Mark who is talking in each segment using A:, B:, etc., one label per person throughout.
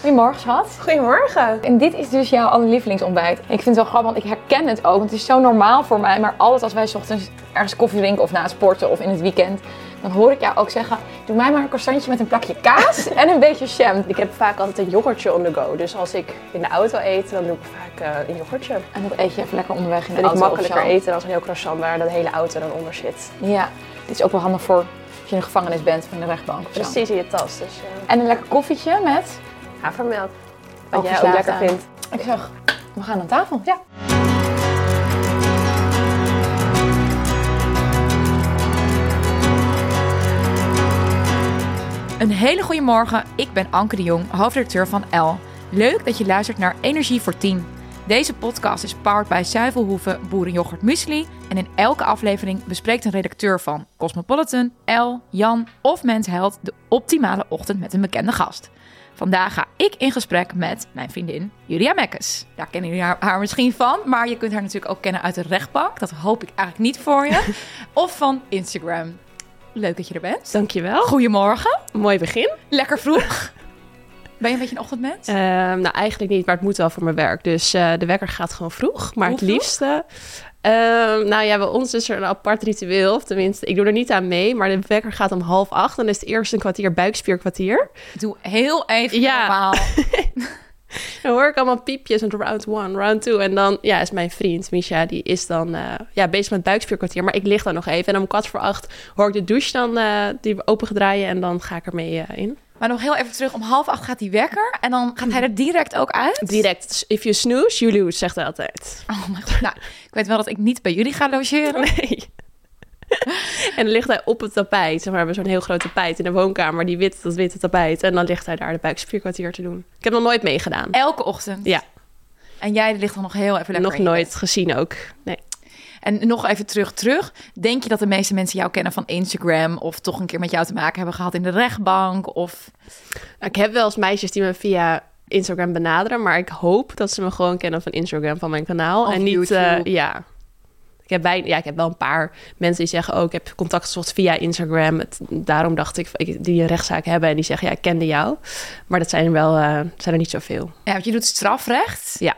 A: Goedemorgen, schat.
B: Goedemorgen.
A: En dit is dus jouw allerlievelingsontbijt. Ik vind het wel grappig, want ik herken het ook. Want het is zo normaal voor mij. Maar altijd als wij 's ochtends ergens koffie drinken of na het sporten of in het weekend, dan hoor ik jou ook zeggen: Doe mij maar een croissantje met een plakje kaas en een beetje jam.
B: Ik heb vaak altijd een yoghurtje on the go. Dus als ik in de auto eet, dan doe ik vaak eh, een yoghurtje.
A: En dat eet je even lekker onderweg in de
B: En ik
A: auto. of
B: makkelijker
A: zo.
B: eten dan zo'n heel croissant waar de hele auto dan onder zit.
A: Ja, dit is ook wel handig voor als je in de gevangenis bent of in de rechtbank. Of zo.
B: Precies in je tas. Dus eh
A: En een lekker koffietje met.
B: havermelk. Wat
A: Ook
B: jij ook
A: geslaagd,
B: lekker
A: hè?
B: vindt.
A: Ik zeg: We gaan aan tafel. Ja. Een hele goede morgen. Ik ben Anke de Jong, hoofdredacteur van L. Leuk dat je luistert naar Energie voor 10. Deze podcast is powered bij Zuivelhoeven Boerenjoghurt Muesli. En in elke aflevering bespreekt een redacteur van Cosmopolitan, L, Jan of Mens Held de optimale ochtend met een bekende gast. Vandaag ga ik in gesprek met mijn vriendin Julia Mekkes. Daar kennen jullie haar, haar misschien van, maar je kunt haar natuurlijk ook kennen uit de rechtbank. Dat hoop ik eigenlijk niet voor je. Of van Instagram. Leuk dat je er bent.
B: Dankjewel.
A: Goedemorgen.
B: Mooi begin.
A: Lekker vroeg. Ben je een beetje een ochtendmens?
B: Ehm, nou, eigenlijk niet, maar het moet wel voor mijn werk. Dus eh, de wekker gaat gewoon vroeg. Maar
A: Hoe
B: het
A: vroeg?
B: liefste. ehm, nou ja, bij ons is er een apart ritueel. Of tenminste, ik doe er niet aan mee. Maar de wekker gaat om half acht. Dan is het eerst een kwartier buikspierkwartier.
A: Doe heel even
B: Ja.
A: normaal.
B: Dan hoor ik allemaal piepjes. En round one, round two. En dan ja, is mijn vriend Misha. Die is dan eh, ja, bezig met buikspierkwartier. Maar ik lig dan nog even. En om kwart voor acht hoor ik de douche dan eh, die opengedraaien. En dan ga ik ermee eh, in.
A: Maar nog heel even terug. Om half acht gaat die wekker. En dan gaat hij er direct ook uit.
B: Direct. If you snooze, you lose, zegt hij altijd.
A: Oh mijn god. Nou, ik weet wel dat ik niet bij jullie ga logeren.
B: Nee. En dan ligt hij op het tapijt. Zeg maar, we hebben zo'n heel groot tapijt in de woonkamer. Die wit, dat witte tapijt. En dan ligt hij daar de buikspierkwartier te doen. Ik heb nog nooit meegedaan.
A: Elke ochtend.
B: Ja.
A: En jij ligt dan nog heel even lekker
B: Nog
A: in.
B: nooit gezien ook. Nee.
A: En nog even terug, terug. Denk je dat de meeste mensen jou kennen van Instagram... of toch een keer met jou te maken hebben gehad in de rechtbank? Of
B: Nou, Ik heb wel eens meisjes die me via Instagram benaderen. Maar ik hoop dat ze me gewoon kennen van Instagram, van mijn kanaal.
A: Of
B: en niet, eh,
A: YouTube.
B: ja. Ik heb, bijna, ja, ik heb wel een paar mensen die zeggen... oh, ik heb contact gezocht via Instagram. Het- daarom dacht ik, ik- die een rechtszaak hebben... en die zeggen, ja, ik kende jou. Maar dat zijn er wel eh, zijn er niet zoveel.
A: Ja, want je doet strafrecht.
B: Ja.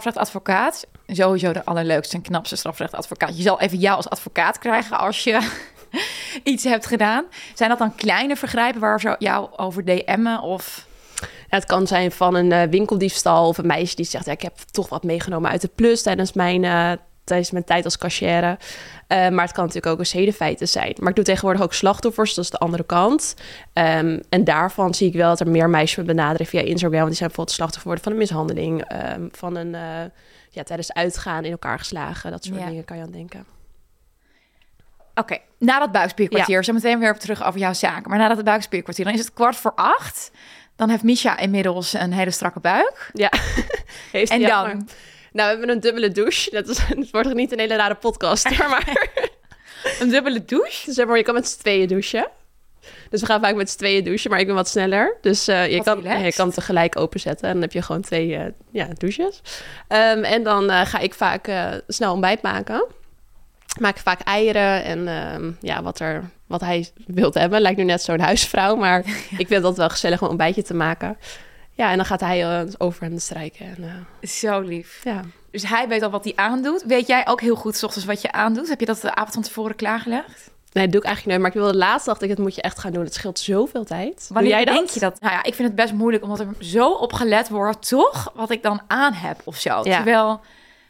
A: Strafrechtadvocaat. Sowieso de allerleukste en knapste strafrechtadvocaat. Je zal even jou als advocaat krijgen als je iets hebt gedaan. Zijn dat dan kleine vergrijpen waar ze jou over DM'en of...
B: Ja, het kan zijn van een eh, winkeldiefstal of een meisje die zegt... Ja, ik heb toch wat meegenomen uit de plus tijdens mijn, eh, tijdens mijn tijd als cashière. Eh, maar het kan natuurlijk ook een zedenfeiten zijn. Maar ik doe tegenwoordig ook slachtoffers, dat is de andere kant. Ehm, en daarvan zie ik wel dat er meer meisjes me benaderen via Instagram. Want die zijn bijvoorbeeld slachtoffer geworden van een mishandeling... ehm, van een, eh, ja, tijdens uitgaan in elkaar geslagen. Dat soort
A: Ja.
B: dingen kan je aan denken.
A: Oké, na dat buikspierkwartier, zo meteen weer op terug over jouw zaken. Maar na dat buikspierkwartier, dan is het kwart voor acht. Dan heeft Misha inmiddels een hele strakke buik.
B: Ja, heeft
A: En
B: hij
A: dan?
B: jammer. Nou, we hebben een dubbele douche. Dat, is, het wordt niet een hele rare podcast, hoor, maar...
A: Een dubbele douche.
B: Dus zeg maar, je kan met z'n tweeën douchen. Dus we gaan vaak met z'n tweeën douchen, maar ik ben wat sneller. Dus eh, je,
A: Wat
B: kan,
A: relaxed.
B: je kan tegelijk openzetten en dan heb je gewoon twee eh, ja, douches. Ehm, en dan eh, ga ik vaak eh, snel ontbijt maken. Maak vaak eieren en ehm, ja, wat, er, wat hij wilt hebben. Lijkt nu net zo'n huisvrouw, maar ik vind dat wel gezellig om een ontbijtje te maken. Ja, en dan gaat hij eh, over hem strijken. En, eh,
A: Zo lief.
B: ja.
A: Dus hij weet al wat hij aandoet. Weet jij ook heel goed 's ochtends wat je aandoet? Heb je dat de avond van tevoren klaargelegd?
B: Nee, dat doe ik eigenlijk nooit. Maar ik wilde laatst, dacht ik, dat moet je echt gaan doen. Het scheelt zoveel tijd. Doe
A: Wanneer
B: jij dat?
A: denk je dat? Nou ja, ik vind het best moeilijk omdat er zo op gelet wordt, toch? Wat ik dan aan heb of zo. Terwijl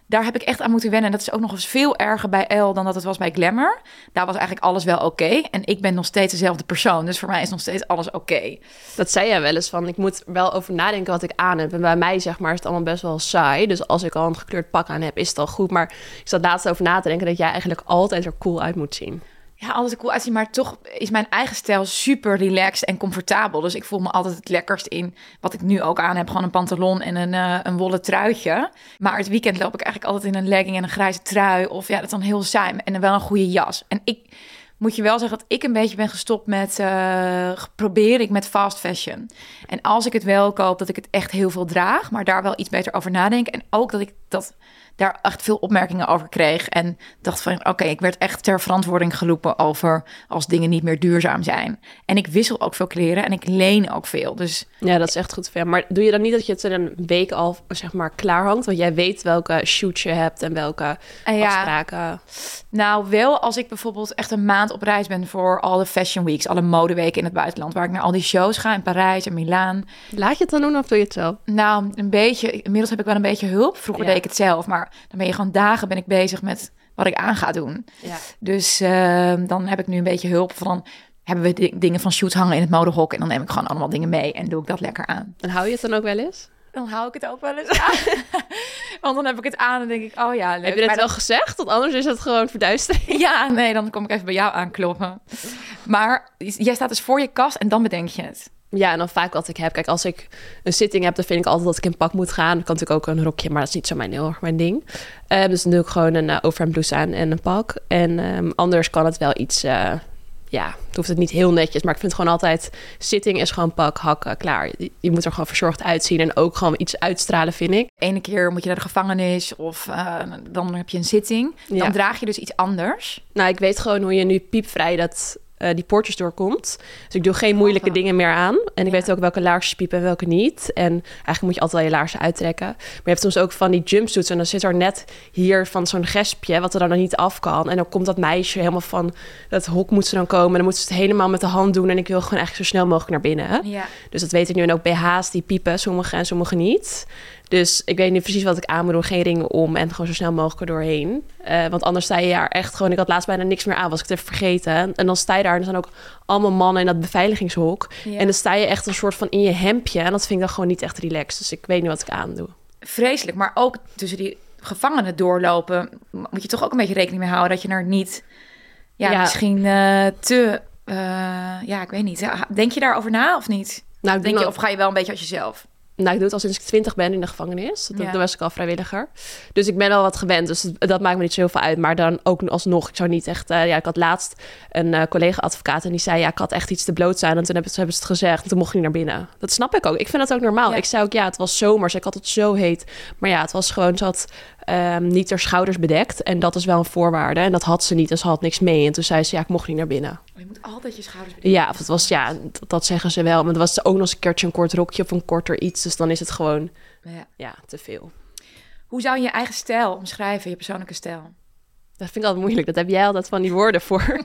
A: daar heb ik echt aan moeten wennen. En dat is ook nog eens veel erger bij L dan dat het was bij Glamour. Daar was eigenlijk alles wel oké. En ik ben nog steeds dezelfde persoon. Dus voor mij is nog steeds alles oké.
B: Dat zei jij wel eens van, ik moet wel over nadenken wat ik aan heb. En bij mij zeg maar is het allemaal best wel saai. Dus als ik al een gekleurd pak aan heb, is het al goed. Maar ik zat laatst over na te denken dat jij eigenlijk altijd er cool uit moet zien.
A: Ja, alles er cool uitzien. Maar toch is mijn eigen stijl super relaxed en comfortabel. Dus ik voel me altijd het lekkerst in wat ik nu ook aan heb. Gewoon een pantalon en een, eh, een wollen truitje. Maar het weekend loop ik eigenlijk altijd in een legging en een grijze trui. Of ja, dat is dan heel saai. En dan wel een goede jas. En ik moet je wel zeggen dat ik een beetje ben gestopt met... eh probeer ik met fast fashion. En als ik het wel koop, dat ik het echt heel veel draag. Maar daar wel iets beter over nadenk. En ook dat ik dat daar echt veel opmerkingen over kreeg. En dacht van, oké, ik werd echt ter verantwoording geroepen over als dingen niet meer duurzaam zijn. En ik wissel ook veel kleren en ik leen ook veel. Dus
B: Ja, dat is echt goed. ver. Maar doe je dan niet dat je het er een week al zeg maar, klaar hangt? Want jij weet welke shoot je hebt en welke
A: eh, ja,
B: afspraken.
A: nou wel als ik bijvoorbeeld echt een maand op reis ben voor alle fashion weeks, alle modeweken in het buitenland, waar ik naar al die shows ga in Parijs en Milaan.
B: Laat je het dan doen of doe je het zelf?
A: Nou, een beetje. Inmiddels heb ik wel een beetje hulp. Vroeger
B: Ja.
A: deed ik het zelf, maar dan ben je gewoon dagen ben ik bezig met wat ik aan ga doen.
B: Ja.
A: Dus ehm, dan heb ik nu een beetje hulp van. Hebben we di- dingen van shoot hangen in het modehok en dan neem ik gewoon allemaal dingen mee en doe ik dat lekker aan.
B: En hou je het dan ook wel eens?
A: Dan hou ik het ook wel eens aan. Want dan heb ik het aan en denk ik, oh ja, leuk.
B: Heb je het
A: Maar
B: wel gezegd? Want anders is het gewoon verduistering.
A: dan- Ja, nee, dan kom ik even bij jou aankloppen. Maar jij staat dus voor je kast en dan bedenk je het.
B: Ja, en dan vaak wat ik heb. Kijk, als ik een zitting heb, dan vind ik altijd dat ik in pak moet gaan. Dan kan natuurlijk ook een rokje, maar dat is niet zo mijn, heel erg mijn ding. Ehm, dus dan doe ik gewoon een eh, overhemd blouse aan en een pak. En ehm, anders kan het wel iets... eh, ja, het hoeft het niet heel netjes. Maar ik vind gewoon altijd... Zitting is gewoon pak, hakken, klaar. Je, je moet er gewoon verzorgd uitzien. En ook gewoon iets uitstralen, vind ik.
A: ene keer moet je naar de gevangenis of eh, dan heb je een zitting. Dan
B: Ja.
A: draag je dus iets anders.
B: Nou, ik weet gewoon hoe je nu piepvrij dat, eh, die poortjes doorkomt. Dus ik doe geen moeilijke dingen meer aan. En ik
A: Ja.
B: weet ook welke laarsjes piepen en welke niet. En eigenlijk moet je altijd wel je laarzen uittrekken. Maar je hebt soms ook van die jumpsuits. En dan zit er net hier van zo'n gespje, wat er dan nog niet af kan. En dan komt dat meisje helemaal van dat hok moet ze dan komen. En dan moet ze het helemaal met de hand doen. En ik wil gewoon eigenlijk zo snel mogelijk naar binnen.
A: Ja.
B: Dus dat weet ik nu. En ook BH's die piepen, sommige en sommige niet. Dus ik weet niet precies wat ik aan moet doen. Geen ringen om en gewoon zo snel mogelijk er doorheen. Eh, want anders sta je daar echt gewoon... Ik had laatst bijna niks meer aan, was ik het even vergeten. En dan sta je daar en er zijn ook allemaal mannen in dat beveiligingshok.
A: Ja.
B: En dan sta je echt een soort van in je hemdje. En dat vind ik dan gewoon niet echt relaxed. Dus ik weet niet wat ik aan doe.
A: Vreselijk, maar ook tussen die gevangenen doorlopen moet je toch ook een beetje rekening mee houden dat je er niet, ja,
B: Ja.
A: misschien eh, te, eh, ja, ik weet niet. Ja, Denk je daarover na of niet?
B: Nou, ik doe
A: Denk je,
B: dat-
A: of ga je wel een beetje als jezelf?
B: Nou, ik doe het al sinds ik twintig ben in de gevangenis. Dat,
A: Ja.
B: Dan was ik al vrijwilliger. Dus ik ben al wat gewend. Dus dat, dat maakt me niet zo heel veel uit. Maar dan ook alsnog, ik zou niet echt... eh, ja, ik had laatst een eh, collega-advocaat en die zei... Ja, ik had echt iets te bloot zijn. En toen hebben, ze- hebben ze het gezegd. En toen mocht ik niet naar binnen. Dat snap ik ook. Ik vind dat ook normaal.
A: Ja.
B: Ik zei ook, ja, het was zomers. Ik had het zo heet. Maar ja, het was gewoon... Ze had ehm, niet haar schouders bedekt. En dat is wel een voorwaarde. En dat had ze niet. En ze had niks mee. En toen zei ze, ja, ik mocht niet naar binnen.
A: Oh, Je moet altijd je schouders
B: Ja, of het was, ja, dat- dat zeggen ze wel. Maar er was ook nog eens een keertje een kort rokje of een korter iets. Dus dan is het gewoon
A: Ja.
B: ja, te veel.
A: Hoe zou je je eigen stijl omschrijven, je persoonlijke stijl?
B: Dat vind ik altijd moeilijk. Dat heb jij altijd van die woorden voor.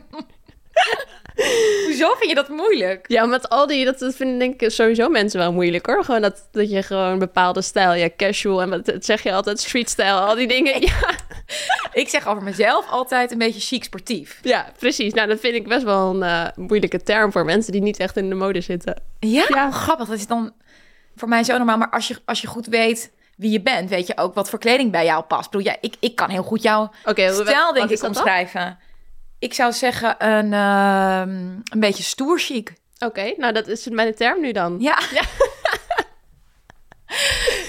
A: Hoezo vind je dat moeilijk?
B: Ja, met al die, dat, dat vinden denk ik sowieso mensen wel moeilijk hoor. Gewoon dat, dat je gewoon een bepaalde stijl, ja, casual en wat dat zeg je altijd, streetstijl, al die dingen. Ja,
A: Ik zeg over mezelf altijd een beetje chic sportief.
B: ja, precies. Nou, dat vind ik best wel een eh, moeilijke term voor mensen die niet echt in de mode zitten.
A: Ja,
B: Ja.
A: grappig. Dat is dan voor mij zo normaal. Maar als je, als je goed weet wie je bent, weet je ook wat voor kleding bij jou past. Ik bedoel, ja, ik, ik kan heel goed jouw
B: Oké, hoe-
A: stijl,
B: wat
A: denk
B: is
A: ik,
B: dat dan?
A: omschrijven. Ik zou zeggen een, ehm, een beetje stoer chic.
B: Oké, nou dat is mijn term nu dan.
A: Ja.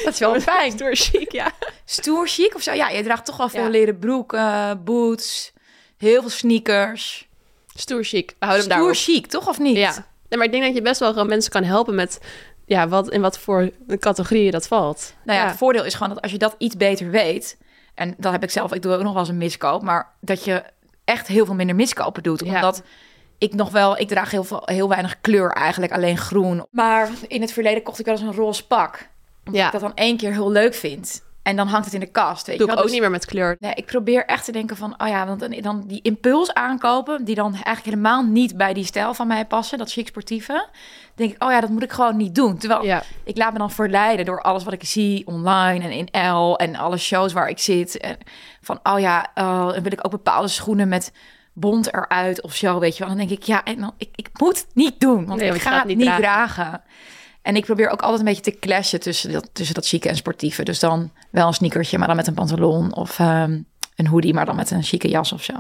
A: dat is
B: Oh,
A: wel fijn.
B: Door chic, ja.
A: Stoer chic of zo? Ja, je draagt toch wel veel
B: Ja.
A: leren broek, eh, boots, heel veel sneakers.
B: Stoer chic. We houden hem
A: stoer
B: daarop.
A: chic, toch of niet?
B: Ja. Nee, maar ik denk dat je best wel gewoon mensen kan helpen met, ja, wat, in wat voor categorieën dat valt.
A: Nou ja, het voordeel is gewoon dat als je dat iets beter weet... en dat heb ik zelf, ik doe ook nog wel eens een miskoop... maar dat je echt heel veel minder miskopen doet.
B: Ja.
A: Omdat ik nog wel, ik draag heel, veel, heel weinig kleur eigenlijk, alleen groen. Maar in het verleden kocht ik wel eens een roze pak. Omdat
B: Ja.
A: ik dat dan één keer heel leuk vind. En dan hangt het in de kast, weet
B: doe
A: je wel.
B: ik ook
A: Dus-
B: niet meer met kleur.
A: Nee, ik probeer echt te denken van, oh ja, want dan, dan die impuls aankopen, die dan eigenlijk helemaal niet bij die stijl van mij passen, dat chic sportieve, dan denk ik, oh ja, dat moet ik gewoon niet doen. Terwijl
B: Ja.
A: ik laat me dan verleiden door alles wat ik zie online en in L en alle shows waar ik zit. En van, oh ja, eh, dan wil ik ook bepaalde schoenen met bont eruit of zo, weet je wel. Dan denk ik, ja, en dan, ik, ik moet het niet doen, want
B: Nee,
A: ik
B: want je
A: ga
B: gaat
A: het
B: het
A: niet
B: niet
A: dragen. En ik probeer ook altijd een beetje te clashen tussen dat, tussen dat chique en sportieve. Dus dan wel een sneakertje, maar dan met een pantalon of ehm, een hoodie, maar dan met een chique jas of zo.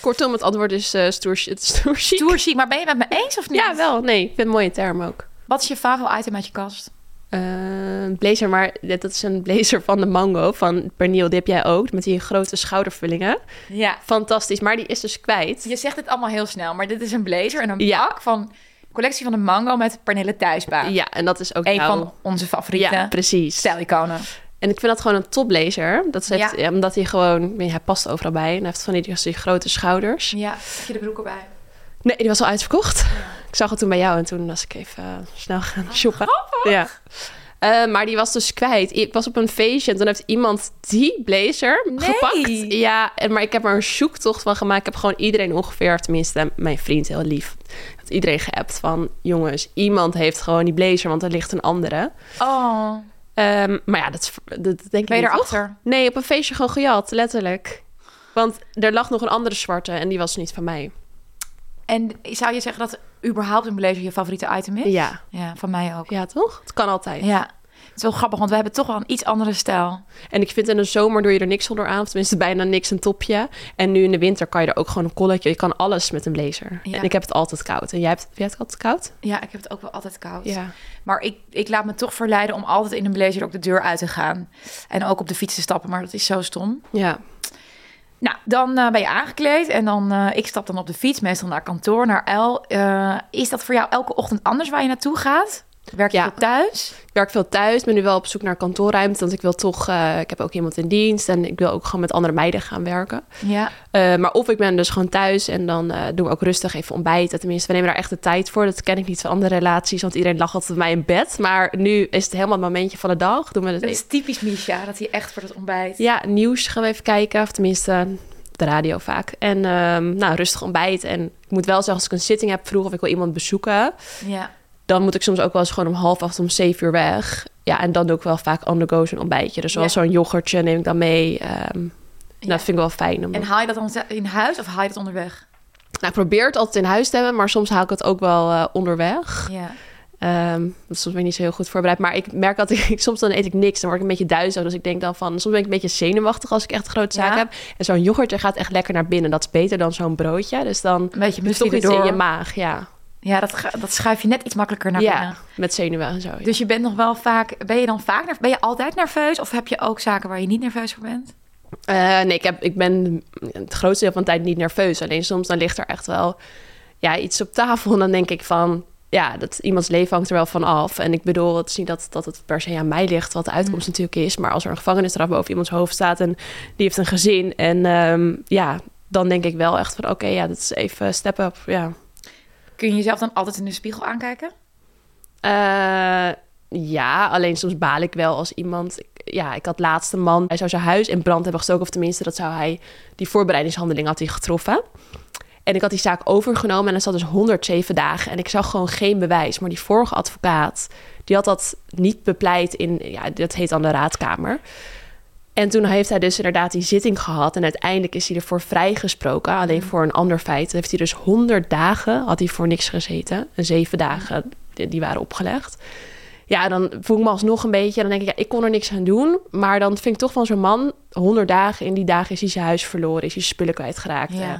B: Kortom, het antwoord is eh stoer, chi- stoer chic.
A: Tour chic, maar ben je het met me eens of niet?
B: Ja, wel. Nee, ik vind het een mooie term ook.
A: Wat is je favoriete item uit je kast?
B: Eh, blazer, maar dit- dat is een blazer van de Mango, van Pernil. Die heb jij ook, met die grote schoudervullingen.
A: Ja.
B: Fantastisch, maar die is dus kwijt.
A: Je zegt het allemaal heel snel, maar dit is een blazer en een
B: Ja.
A: pak van collectie van de Mango met Pernille Thuisbaan.
B: Ja, en dat is ook
A: Een
B: jouw-
A: van onze favoriete
B: Ja, precies.
A: stijliconen.
B: En ik vind dat gewoon een topblazer. Dat heeft,
A: Ja.
B: ja, omdat hij gewoon, hij past overal bij. En hij heeft van die, dus die grote schouders.
A: Ja, heb je de broeken bij?
B: Nee, die was al uitverkocht. Ik zag het toen bij jou en toen was ik even eh, snel gaan shoppen. Ja. Eh, maar die was dus kwijt. Ik was op een feestje en toen heeft iemand die blazer
A: Nee.
B: gepakt. Ja, en, maar ik heb er een zoektocht van gemaakt. Ik heb gewoon iedereen ongeveer, tenminste mijn vriend heel lief, dat iedereen geappt van... jongens, iemand heeft gewoon die blazer, want er ligt een andere.
A: Oh,
B: Ehm, maar ja, dat, is- dat denk ik niet,
A: ben je
B: toch?
A: erachter?
B: Nee, op een feestje gewoon gejat, letterlijk. Want er lag nog een andere zwarte en die was niet van mij.
A: En zou je zeggen dat überhaupt een blazer je favoriete item is?
B: Ja,
A: Ja, van mij ook.
B: ja toch? Het kan altijd.
A: Ja. Het is wel grappig, want we hebben toch wel een iets andere stijl.
B: En ik vind in de zomer doe je er niks onder aan. Of tenminste bijna niks, een topje. En nu in de winter kan je er ook gewoon een colletje. Je kan alles met een blazer.
A: Ja.
B: En ik heb het altijd koud. En jij hebt, jij hebt het altijd koud?
A: Ja, ik heb het ook wel altijd koud. Maar ik, ik laat me toch verleiden om altijd in een blazer ook de deur uit te gaan. En ook op de fiets te stappen, maar dat is zo stom.
B: Ja.
A: Nou, dan eh, ben je aangekleed en dan, eh, ik stap dan op de fiets, meestal naar kantoor, naar L. Eh, is dat voor jou elke ochtend anders waar je naartoe gaat? Werk je
B: Ja.
A: veel thuis?
B: Ik werk veel thuis. Ben nu wel op zoek naar kantoorruimte. Want ik wil toch... eh, ik heb ook iemand in dienst. En ik wil ook gewoon met andere meiden gaan werken.
A: Ja.
B: Eh, maar of ik ben dus gewoon thuis. En dan eh, doen we ook rustig even ontbijten. Tenminste, we nemen daar echt de tijd voor. Dat ken ik niet van andere relaties. Want iedereen lag altijd bij mij in bed. Maar nu is het helemaal het momentje van de dag. Doen we het
A: Dat is typisch Misha, dat hij echt voor het ontbijt...
B: Ja, nieuws gaan we even kijken. Of tenminste, de radio vaak. En ehm, nou, rustig ontbijt. En ik moet wel zeggen, als ik een zitting heb vroeg of ik wil iemand bezoeken...
A: Ja.
B: dan moet ik soms ook wel eens gewoon om half acht, om zeven uur weg. Ja, en dan doe ik wel vaak on the go zo'n ontbijtje. Dus wel
A: Ja.
B: zo'n yoghurtje neem ik dan mee. ehm,
A: Ja.
B: nou, dat vind ik wel fijn. Om...
A: En haal je dat dan in huis of haal je dat onderweg?
B: Nou, ik probeer het altijd in huis te hebben, maar soms haal ik het ook wel eh, onderweg.
A: Ja.
B: Ehm, want soms ben ik niet zo heel goed voorbereid. Maar ik merk dat ik soms dan eet ik niks. Dan word ik een beetje duizelig. Dus ik denk dan van, soms ben ik een beetje zenuwachtig als ik echt een grote zaak
A: Ja.
B: heb. En zo'n yoghurtje gaat echt lekker naar binnen. Dat is beter dan zo'n broodje. Dus dan
A: Een beetje
B: is toch
A: muesli
B: iets in je
A: erdoor.
B: maag. Ja,
A: Ja, dat, ga- dat schuif je net iets makkelijker naar binnen.
B: ja met zenuwen en zo. ja.
A: Dus je bent nog wel vaak, ben je dan vaak, nerv- ben je altijd nerveus of heb je ook zaken waar je niet nerveus voor bent?
B: Eh, nee, ik, heb, ik ben het grootste deel van de tijd niet nerveus. Alleen soms dan ligt er echt wel ja, iets op tafel. En dan denk ik van, ja, dat iemands leven hangt er wel van af. En ik bedoel, het is niet dat, dat het per se aan mij ligt, wat de uitkomst natuurlijk is. Maar als er een gevangenisstraf boven iemands hoofd staat en die heeft een gezin. En ehm, ja, dan denk ik wel echt van, oké, ja, dat is even step up. Ja,
A: Kun je jezelf dan altijd in de spiegel aankijken?
B: Eh, ja alleen soms baal ik wel als iemand... Ja, ik had laatst een man, hij zou zijn huis in brand hebben gestoken. Of tenminste, dat zou hij, die voorbereidingshandeling had hij getroffen. En ik had die zaak overgenomen en dat zat dus 107 dagen. En ik zag gewoon geen bewijs. Maar die vorige advocaat, die had dat niet bepleit in... Ja, dat heet dan de raadkamer. En toen heeft hij dus inderdaad die zitting gehad. En uiteindelijk is hij ervoor vrijgesproken. Alleen voor een ander feit. Heeft hij dus 100 dagen, had hij voor niks gezeten. En zeven dagen, die die waren opgelegd. Ja, dan voel ik me alsnog een beetje. Dan denk ik, ja, ik kon er niks aan doen. Maar dan vind ik toch van zo'n man, 100 dagen. In die dagen is hij zijn huis verloren. Is hij zijn spullen kwijtgeraakt.
A: Ja.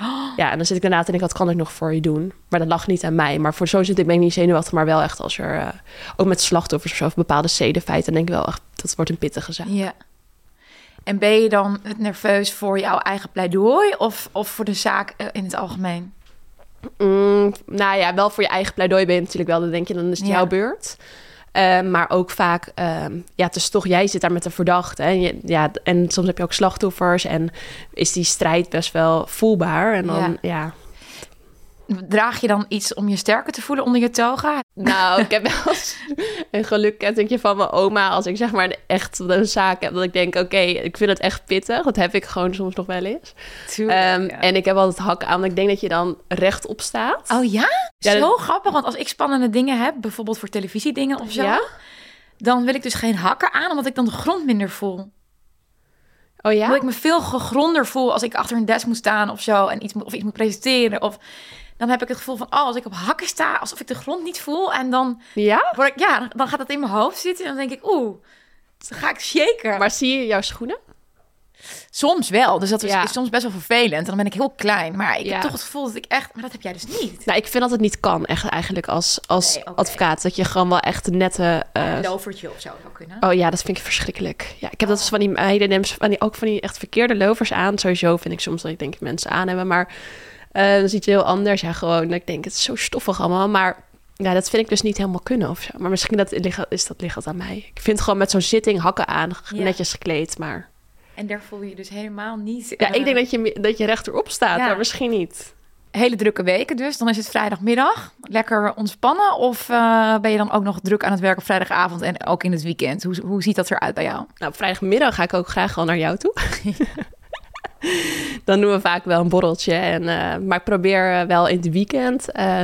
A: Oh.
B: eh, ja, en dan zit ik daarna te denken, wat kan ik nog voor je doen? Maar dat lag niet aan mij. Maar voor zo zit ik, ben ik niet zenuwachtig, maar wel echt als er... eh, ook met slachtoffers of zo, of bepaalde zedenfeiten, dan denk ik wel echt, dat wordt een pittige zaak.
A: Ja. En ben je dan het nerveus voor jouw eigen pleidooi of, of voor de zaak eh, in het algemeen?
B: Mm, nou ja, wel voor je eigen pleidooi ben je natuurlijk wel, dan denk je, dan is het
A: Ja.
B: jouw beurt. Eh, maar ook vaak, ehm, ja, het is toch, jij zit daar met de verdachte. En, je, ja, en soms heb je ook slachtoffers en is die strijd best wel voelbaar. En dan, ja.
A: Draag je dan iets om je sterker te voelen onder je toga?
B: Nou, ik heb wel eens een gelukkettingje van mijn oma als ik zeg maar een- echt een zaak heb. Dat ik denk, oké, ik vind het echt pittig. Dat heb ik gewoon soms nog wel eens. Ehm, En ik heb altijd hak aan. want Ik denk dat je dan rechtop staat.
A: Oh ja?
B: Ja,
A: zo
B: dat-
A: grappig, want als ik spannende dingen heb, bijvoorbeeld voor televisiedingen of zo,
B: Ja?
A: dan wil ik dus geen hakken aan, omdat ik dan de grond minder voel.
B: Oh ja?
A: Dat ik me veel gegronder voel als ik achter een desk moet staan of zo en iets, moet- of iets moet presenteren. Of dan heb ik het gevoel van, oh, als ik op hakken sta, alsof ik de grond niet voel. En dan,
B: Ja?
A: word ik, ja, dan gaat dat in mijn hoofd zitten en dan denk ik, oeh, dan ga ik shaken. Maar
B: Maar zie je jouw schoenen?
A: soms wel, dus dat is,
B: Ja.
A: is soms best wel vervelend. En dan ben ik heel klein, maar ik
B: Ja.
A: heb toch het gevoel dat ik echt, maar dat heb jij dus niet.
B: Nou, ik vind dat het niet kan echt eigenlijk als, als
A: Nee, oké.
B: advocaat. Dat je gewoon wel echt een nette... eh,
A: Een lovertje of zo zou kunnen.
B: Oh ja, dat vind ik verschrikkelijk. Ja, ik heb dat dus van die meiden, nemen ze van die, ook van die echt verkeerde lovers aan. Sowieso vind ik soms dat ik denk dat mensen aan hebben, maar eh, dat is iets heel anders. Ja, gewoon, dat ik denk, het is zo stoffig allemaal, maar Ja, dat vind ik dus niet helemaal kunnen of zo. Maar misschien dat, ligt- is dat, ligt dat aan mij. Ik vind gewoon met zo'n zitting hakken aan, g-
A: Ja.
B: netjes gekleed. Maar
A: En daar voel je je dus helemaal niet...
B: ja,
A: eh,
B: ik denk dat je, me- dat je rechterop staat,
A: Ja.
B: maar misschien niet.
A: Hele drukke weken dus. Dan is het vrijdagmiddag. Lekker ontspannen. Of eh, ben je dan ook nog druk aan het werk op vrijdagavond en ook in het weekend? Hoe, hoe ziet dat eruit bij jou?
B: Nou, op vrijdagmiddag ga ik ook graag wel naar jou toe. Dan doen we vaak wel een borreltje. En, eh, maar ik probeer eh, wel in het weekend eh,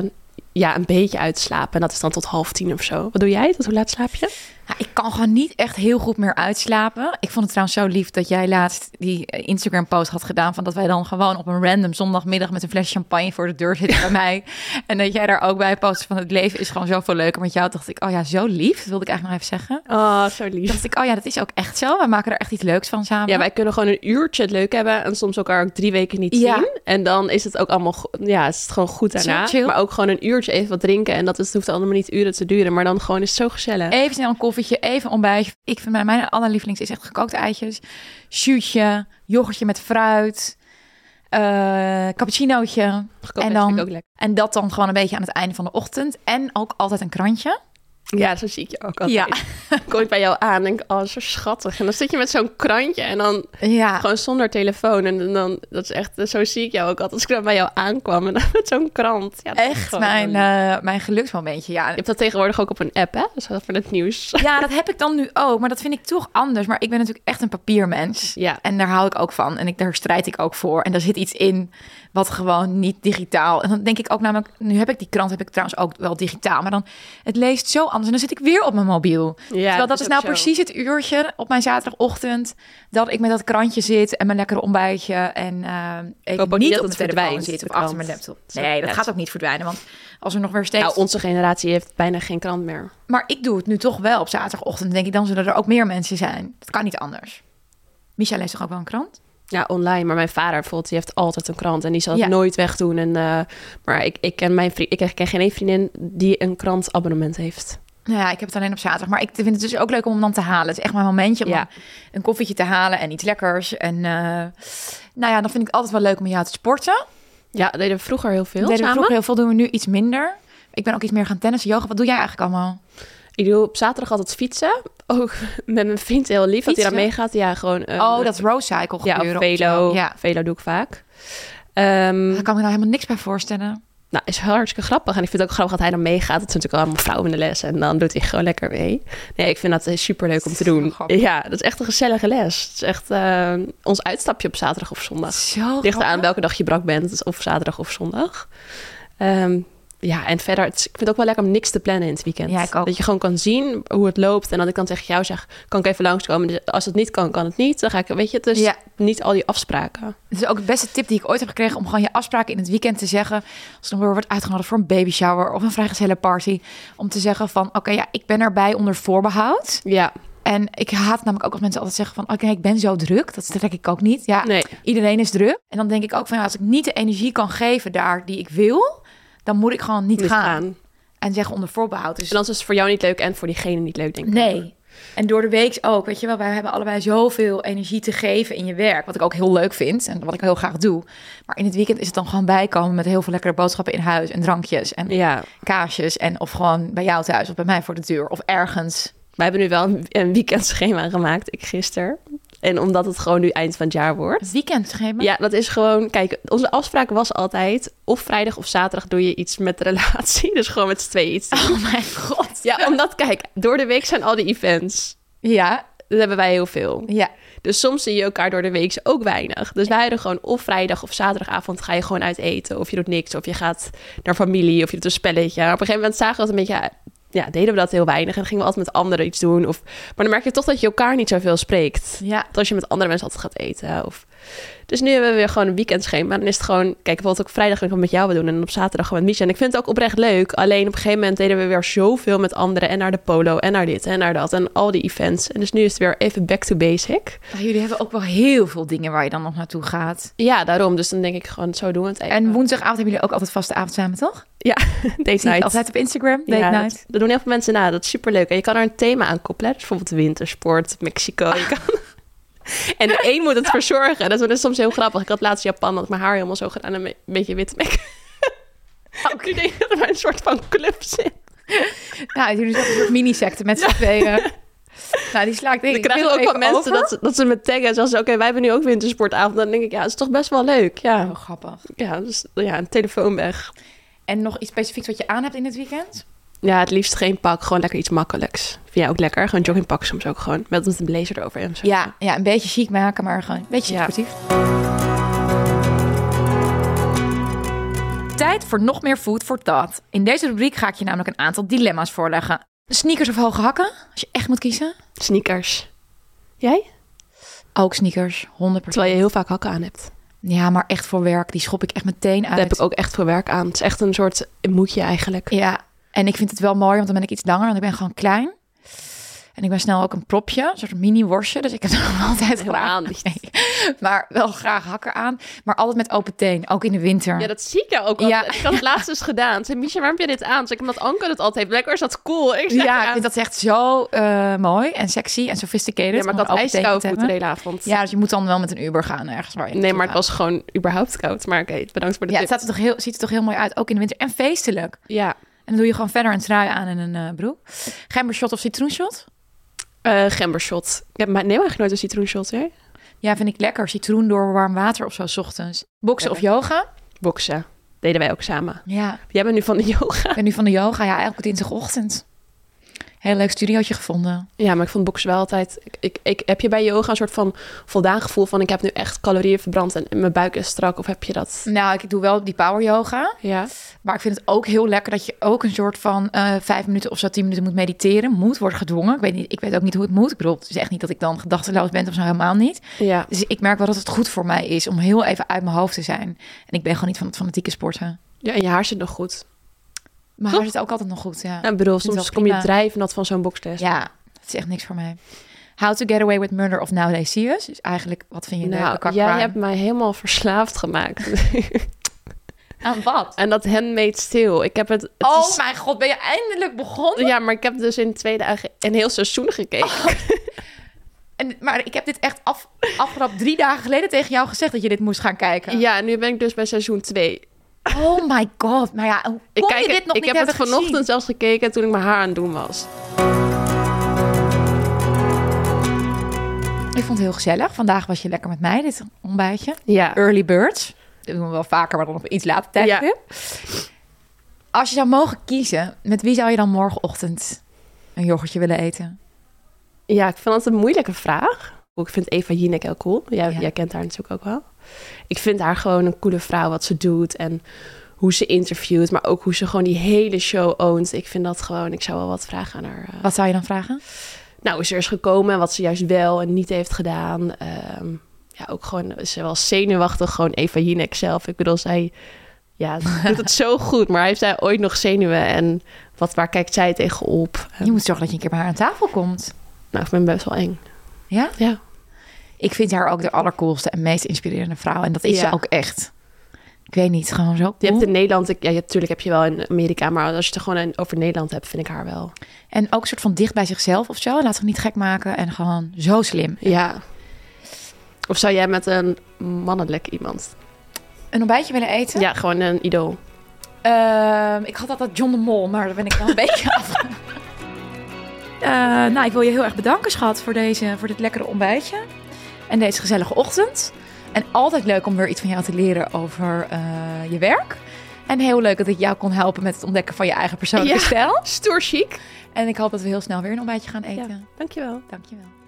B: ja, een beetje uit te slapen. En dat is dan tot half tien of zo. Wat doe jij? Tot hoe laat slaap je?
A: Ja, Nou, ik kan gewoon niet echt heel goed meer uitslapen. Ik vond het trouwens zo lief dat jij laatst die eh, Instagram-post had gedaan... van dat wij dan gewoon op een random zondagmiddag met een fles champagne voor de deur zitten bij mij. En dat jij daar ook bij post van het leven is gewoon zoveel leuker met jou. dacht ik, oh ja, zo lief. Dat wilde ik eigenlijk nog even zeggen.
B: Oh, zo lief.
A: dacht ik, oh ja, dat is ook echt zo. We maken er echt iets leuks van samen.
B: Ja, wij kunnen gewoon een uurtje het leuk hebben en soms elkaar ook drie weken niet
A: Ja.
B: zien. En dan is het ook allemaal, go- ja, is het gewoon goed daarna.
A: Zo chill.
B: Maar ook gewoon een uurtje even wat drinken en dat is, het hoeft allemaal niet uren te duren, maar dan gewoon is het zo gezellig.
A: Even snel een koffietje, even ontbijtje. Ik vind mijn, mijn allerlievelings is echt gekookte eitjes. Shootje, yoghurtje met fruit, eh cappuccinootje.
B: Gekookt
A: en
B: ijs vind
A: dan-
B: ik ook lekker.
A: En dat dan gewoon een beetje aan het einde van de ochtend. En ook altijd een krantje.
B: Ja, zo zie ik je ook altijd. Kom ik bij jou aan en denk, oh, zo schattig. En dan zit je met zo'n krantje en dan
A: ja.
B: gewoon zonder telefoon. En dan, dat is echt, zo zie ik jou ook altijd. Als ik dan bij jou aankwam en dan met zo'n krant. Ja, dat is
A: echt
B: gewoon-
A: mijn, eh, mijn geluksmomentje. Ja.
B: Je hebt dat tegenwoordig ook op een app, hè? Dus dat voor het nieuws.
A: ja, dat heb ik dan nu ook. Maar dat vind ik toch anders. Maar ik ben natuurlijk echt een papiermens.
B: Ja,
A: En daar hou ik ook van. En ik, daar strijd ik ook voor. En daar zit iets in wat gewoon niet digitaal. En dan denk ik ook namelijk, nu heb ik die krant, heb ik trouwens ook wel digitaal. Maar dan, het leest zo anders. En dan zit ik weer op mijn mobiel.
B: ja dus
A: Terwijl dat is
B: ook
A: nou
B: zo.
A: precies het uurtje op mijn zaterdagochtend. Dat ik met dat krantje zit en mijn lekkere ontbijtje. En eh, ik
B: hoop ook
A: niet,
B: niet
A: op mijn telefoon
B: dat het verdwijnt,
A: zit of
B: de
A: achter
B: krant.
A: mijn laptop.
B: Zo,
A: Nee, dat
B: net.
A: gaat ook niet verdwijnen. Want als er nog weer steeds...
B: Nou, onze generatie heeft bijna geen krant meer.
A: Maar ik doe het nu toch wel op zaterdagochtend. denk ik, dan zullen er ook meer mensen zijn. Dat kan niet anders. Micha leest toch ook wel een krant?
B: Ja, online. Maar mijn vader bijvoorbeeld, die heeft altijd een krant en die zal het
A: Ja.
B: nooit wegdoen. En, eh, maar ik, ik, ken mijn vriend, ik ken geen één vriendin die een krantabonnement heeft.
A: Nou ja, ik heb het alleen op zaterdag. Maar ik vind het dus ook leuk om hem dan te halen. Het is echt mijn momentje om
B: Ja.
A: dan een koffietje te halen en iets lekkers. En eh, nou ja, dan vind ik het altijd wel leuk om met jou te sporten.
B: Ja, dat deden we vroeger heel veel
A: Dat deden we
B: samen.
A: vroeger heel veel, doen we nu iets minder. Ik ben ook iets meer gaan tennissen, yoga. Wat doe jij eigenlijk allemaal?
B: Ik doe op zaterdag altijd fietsen. Ook met mijn vriend heel lief dat hij
A: Fietsen?
B: daar meegaat. Ja, gewoon... eh,
A: oh, dat road cycle
B: Ja,
A: gebeuren.
B: of
A: of
B: velo. Mm.
A: zo. Ja.
B: Velo doe ik vaak. Ehm,
A: Daar kan ik me nou helemaal niks bij voorstellen.
B: nou, is hartstikke grappig. En ik vind het ook grappig dat hij dan meegaat. Het zijn natuurlijk allemaal vrouwen in de les. En dan doet hij gewoon lekker mee. Nee, ik vind dat eh, superleuk om te doen.
A: Grappig.
B: Ja, dat is echt een gezellige les. Het is echt eh, ons uitstapje op zaterdag of zondag.
A: Zo
B: Het ligt aan
A: grappig.
B: welke dag je brak bent, dus of zaterdag of zondag. Ehm, ja, en verder, het is- ik vind het ook wel lekker om niks te plannen in het weekend.
A: Ja, ik ook.
B: Dat je gewoon kan zien hoe het loopt en dat ik dan tegen jou zeg, kan ik even langskomen? Dus als het niet kan, kan het niet. Dan ga ik, weet je, dus
A: Ja.
B: niet al die afspraken.
A: Het is ook de beste tip die ik ooit heb gekregen om gewoon je afspraken in het weekend te zeggen. Als er weer wordt uitgenodigd voor een baby shower of een vrijgezellenparty. Om te zeggen van oké, ja, ik ben erbij onder voorbehoud.
B: Ja,
A: En ik haat namelijk ook als mensen altijd zeggen van oké, ik ben zo druk. Dat trek ik ook niet. Ja,
B: nee.
A: iedereen is druk. En dan denk ik ook van ja, als ik niet de energie kan geven daar die ik wil, dan moet ik gewoon niet,
B: Niet
A: gaan.
B: gaan.
A: En zeggen onder voorbehoud. Dus
B: En dan is het voor jou niet leuk en voor diegene niet leuk, denk ik.
A: Nee. En door de week ook, weet je wel, wij hebben allebei zoveel energie te geven in je werk. Wat ik ook heel leuk vind en wat ik heel graag doe. Maar in het weekend is het dan gewoon bijkomen met heel veel lekkere boodschappen in huis. En drankjes en
B: Ja,
A: kaasjes. En of gewoon bij jou thuis of bij mij voor de deur of ergens.
B: wij hebben nu wel een, een weekendschema gemaakt, ik gisteren. En omdat het gewoon nu eind van het jaar wordt.
A: Het weekend gegeven.
B: Ja, dat is gewoon, kijk, onze afspraak was altijd, of vrijdag of zaterdag doe je iets met de relatie. Dus gewoon met z'n tweeën iets doen.
A: Oh mijn god.
B: Ja, omdat, kijk, door de week zijn al die events.
A: Ja,
B: Dat hebben wij heel veel.
A: ja.
B: Dus soms zie je elkaar door de week ook weinig. Dus wij hadden gewoon of vrijdag of zaterdagavond ga je gewoon uit eten. Of je doet niks. Of je gaat naar familie. Of je doet een spelletje. Maar op een gegeven moment zagen we dat een beetje... Ja, deden we dat heel weinig. En dan gingen we altijd met anderen iets doen. Of, maar dan merk je toch dat je elkaar niet zoveel spreekt.
A: Ja.
B: Want als je met andere mensen altijd gaat eten. Of... Dus nu hebben we weer gewoon een weekendschema. Dan is het gewoon, kijk, bijvoorbeeld ook vrijdag wil ik wat met jou doen en op zaterdag gewoon met Misha. En ik vind het ook oprecht leuk. Alleen op een gegeven moment deden we weer zoveel met anderen. En naar de polo en naar dit en naar dat en al die events. En dus nu is het weer even back to basic.
A: Jullie hebben ook wel heel veel dingen waar je dan nog naartoe gaat.
B: Ja, daarom. Dus dan denk ik gewoon, zo doen we het even.
A: En woensdagavond hebben jullie ook altijd vaste avond samen, toch?
B: date
A: Zie ik
B: night.
A: altijd op Instagram, date
B: Ja,
A: night.
B: dat, dat doen heel veel mensen na. Dat is superleuk. En je kan er een thema aan koppelen. hè. Dus bijvoorbeeld wintersport, Mexico. Je kan... En de een moet het verzorgen. Dat is soms heel grappig. Ik had laatst Japan, had ik mijn haar helemaal zo gedaan. en Een beetje wit make-up. Ik denk dat er maar een soort van club zit.
A: Nou, jullie zijn een soort mini-secte met z'n tweeën. Nou, die sla ik denk
B: Ik
A: ik
B: krijg
A: heel
B: ook
A: even
B: van mensen
A: over.
B: dat ze, dat ze me taggen en zeggen ze... oké, wij hebben nu ook wintersportavond. Dan denk ik, ja, het is toch best wel leuk. Ja,
A: Oh, grappig.
B: ja, dus, ja een telefoon weg.
A: En nog iets specifieks wat je aan hebt in het weekend?
B: Ja, het liefst geen pak, gewoon lekker iets makkelijks. Vind jij ook lekker? Gewoon joggingpak soms ook gewoon. Met met een blazer erover en zo.
A: Ja, ja een beetje chic maken, maar gewoon een beetje
B: Ja.
A: sportief. Tijd voor nog meer food for thought. In deze rubriek ga ik je namelijk een aantal dilemma's voorleggen. Sneakers of hoge hakken? Als je echt moet kiezen.
B: Sneakers. Jij?
A: Ook sneakers, 100%.
B: Terwijl je heel vaak hakken aan hebt.
A: Ja, maar echt voor werk. Die schop ik echt meteen uit.
B: Daar heb ik ook echt voor werk aan. Het is echt een soort moedje eigenlijk.
A: Ja, en ik vind het wel mooi, want dan ben ik iets langer, want ik ben gewoon klein. En ik ben snel ook een propje, een soort mini-worstje. Dus ik heb dan altijd
B: Heel
A: graag...
B: aan.
A: Nee, maar wel graag hakken aan. Maar altijd met open teen, ook in de winter.
B: Ja, dat zie ik jou ook al.
A: Ja.
B: Ik had het laatst eens gedaan. Ze zei, Misha, waarom heb je dit aan? Ze ik omdat Anke het altijd heeft. Blijkbaar is dat cool. Ik zeg,
A: Ja, ik
B: ja,
A: vind dat echt zo eh, mooi en sexy en sophisticated.
B: Ja, maar
A: om
B: ik had
A: een open teen te
B: ijskou
A: hebben.
B: moeten de hele avond.
A: Ja, dus je moet dan wel met een Uber gaan ergens waar je
B: Nee,
A: naartoe
B: maar het
A: gaat.
B: was gewoon überhaupt koud. Maar oké, bedankt voor de
A: Ja, het
B: tip.
A: staat er toch heel, ziet er toch heel mooi uit, ook in de winter. En feestelijk.
B: Ja,
A: En dan doe je gewoon verder een trui aan en een eh, broek. Gembershot of citroenshot?
B: eh gembershot. Ik heb, maar neem eigenlijk nooit een citroenshot, hè?
A: Ja, vind ik lekker. Citroen door warm water of zo, 's ochtends. Boksen of
B: Lekker.
A: yoga?
B: Boksen. Deden wij ook samen.
A: Ja,
B: Jij bent nu van de yoga.
A: ik ben nu van de yoga. Ja, elke dinsdagochtend. Heel leuk studiootje gevonden.
B: Ja, maar ik vond boksen wel altijd... Ik, ik, ik- heb je bij yoga een soort van voldaan gevoel van... ik heb nu echt calorieën verbrand en, en mijn buik is strak? Of heb je dat...
A: Nou, ik doe wel die power yoga.
B: Ja,
A: Maar ik vind het ook heel lekker dat je ook een soort van eh, vijf minuten of zo tien minuten moet mediteren. Moet worden gedwongen. Ik weet, niet, ik weet ook niet hoe het moet. Ik bedoel, het is echt niet dat ik dan gedachteloos ben of zo, helemaal niet.
B: ja.
A: Dus ik merk wel dat het goed voor mij is om heel even uit mijn hoofd te zijn. En ik ben gewoon niet van het fanatieke sporten.
B: ja en je haar zit nog goed.
A: Maar
B: Toch?
A: haar zit ook altijd nog goed, ja.
B: Ja, ik bedoel,
A: vind het
B: soms
A: wel
B: kom je
A: prima.
B: drijfnat van zo'n boxtest.
A: Ja, dat is echt niks voor mij. How to get away with murder of nowadays serious. Dus eigenlijk, wat vind je een leuke
B: nou,
A: car
B: jij
A: crime?
B: hebt mij helemaal verslaafd gemaakt.
A: Aan wat?
B: en dat handmade steel. Ik heb het... het
A: Oh
B: is-
A: mijn god, ben je eindelijk begonnen?
B: ja, maar ik heb dus in twee dagen een heel seizoen gekeken.
A: Oh, En, maar ik heb dit echt af, afgelopen drie dagen geleden tegen jou gezegd dat je dit moest gaan kijken.
B: ja, nu ben ik dus bij seizoen 2.
A: Oh my god, maar ja, hoe
B: Ik,
A: kon
B: kijk
A: je dit
B: het-
A: nog
B: ik
A: niet
B: heb het
A: hebben
B: vanochtend
A: gezien?
B: zelfs gekeken toen ik mijn haar aan het doen was.
A: Ik vond het heel gezellig. Vandaag was je lekker met mij, dit ontbijtje.
B: Ja.
A: Early birds. Dat doen we wel vaker, maar dan op iets later tijdstip. Als je zou mogen kiezen, met wie zou je dan morgenochtend een yoghurtje willen eten?
B: ja, ik vind dat een moeilijke vraag. Ik vind Eva Jinek heel cool. Jij,
A: Ja.
B: jij kent haar natuurlijk ook wel. Ik vind haar gewoon een coole vrouw, wat ze doet en hoe ze interviewt. Maar ook hoe ze gewoon die hele show ownt. Ik vind dat gewoon... Ik zou wel wat vragen aan haar... eh,
A: Wat zou je dan vragen?
B: nou, is er is gekomen en wat ze juist wel en niet heeft gedaan. Ehm, ja, ook gewoon, is ze wel zenuwachtig, gewoon Eva Jinek zelf. Ik bedoel, zij ja, doet het zo goed, maar heeft zij ooit nog zenuwen? En wat, waar kijkt zij tegenop?
A: Je moet zorgen dat je een keer bij haar aan tafel komt.
B: Nou, ik ben best wel eng.
A: Ja?
B: Ja,
A: Ik vind haar ook de allercoolste en meest inspirerende vrouw. En dat is
B: Ja.
A: ze ook echt. Ik weet niet, gewoon zo
B: je
A: cool.
B: hebt in Nederland, ik, ja, natuurlijk heb je wel in Amerika, maar als je het gewoon in- over Nederland hebt, vind ik haar wel.
A: En ook een soort van dicht bij zichzelf of zo. Laat zich niet gek maken en gewoon zo slim.
B: Ja. Of zou jij met een mannelijk iemand?
A: Een ontbijtje willen eten?
B: Ja, gewoon een idool.
A: Ehm, ik had altijd John de Mol, maar daar ben ik wel een beetje af. Eh, nou, ik wil je heel erg bedanken, schat, voor, deze, voor dit lekkere ontbijtje. En deze gezellige ochtend. En altijd leuk om weer iets van jou te leren over eh, je werk. En heel leuk dat ik jou kon helpen met het ontdekken van je eigen persoonlijke
B: Ja.
A: stijl.
B: Stoer chic.
A: En ik hoop dat we heel snel weer een ontbijtje gaan eten.
B: Dankjewel.
A: Dankjewel.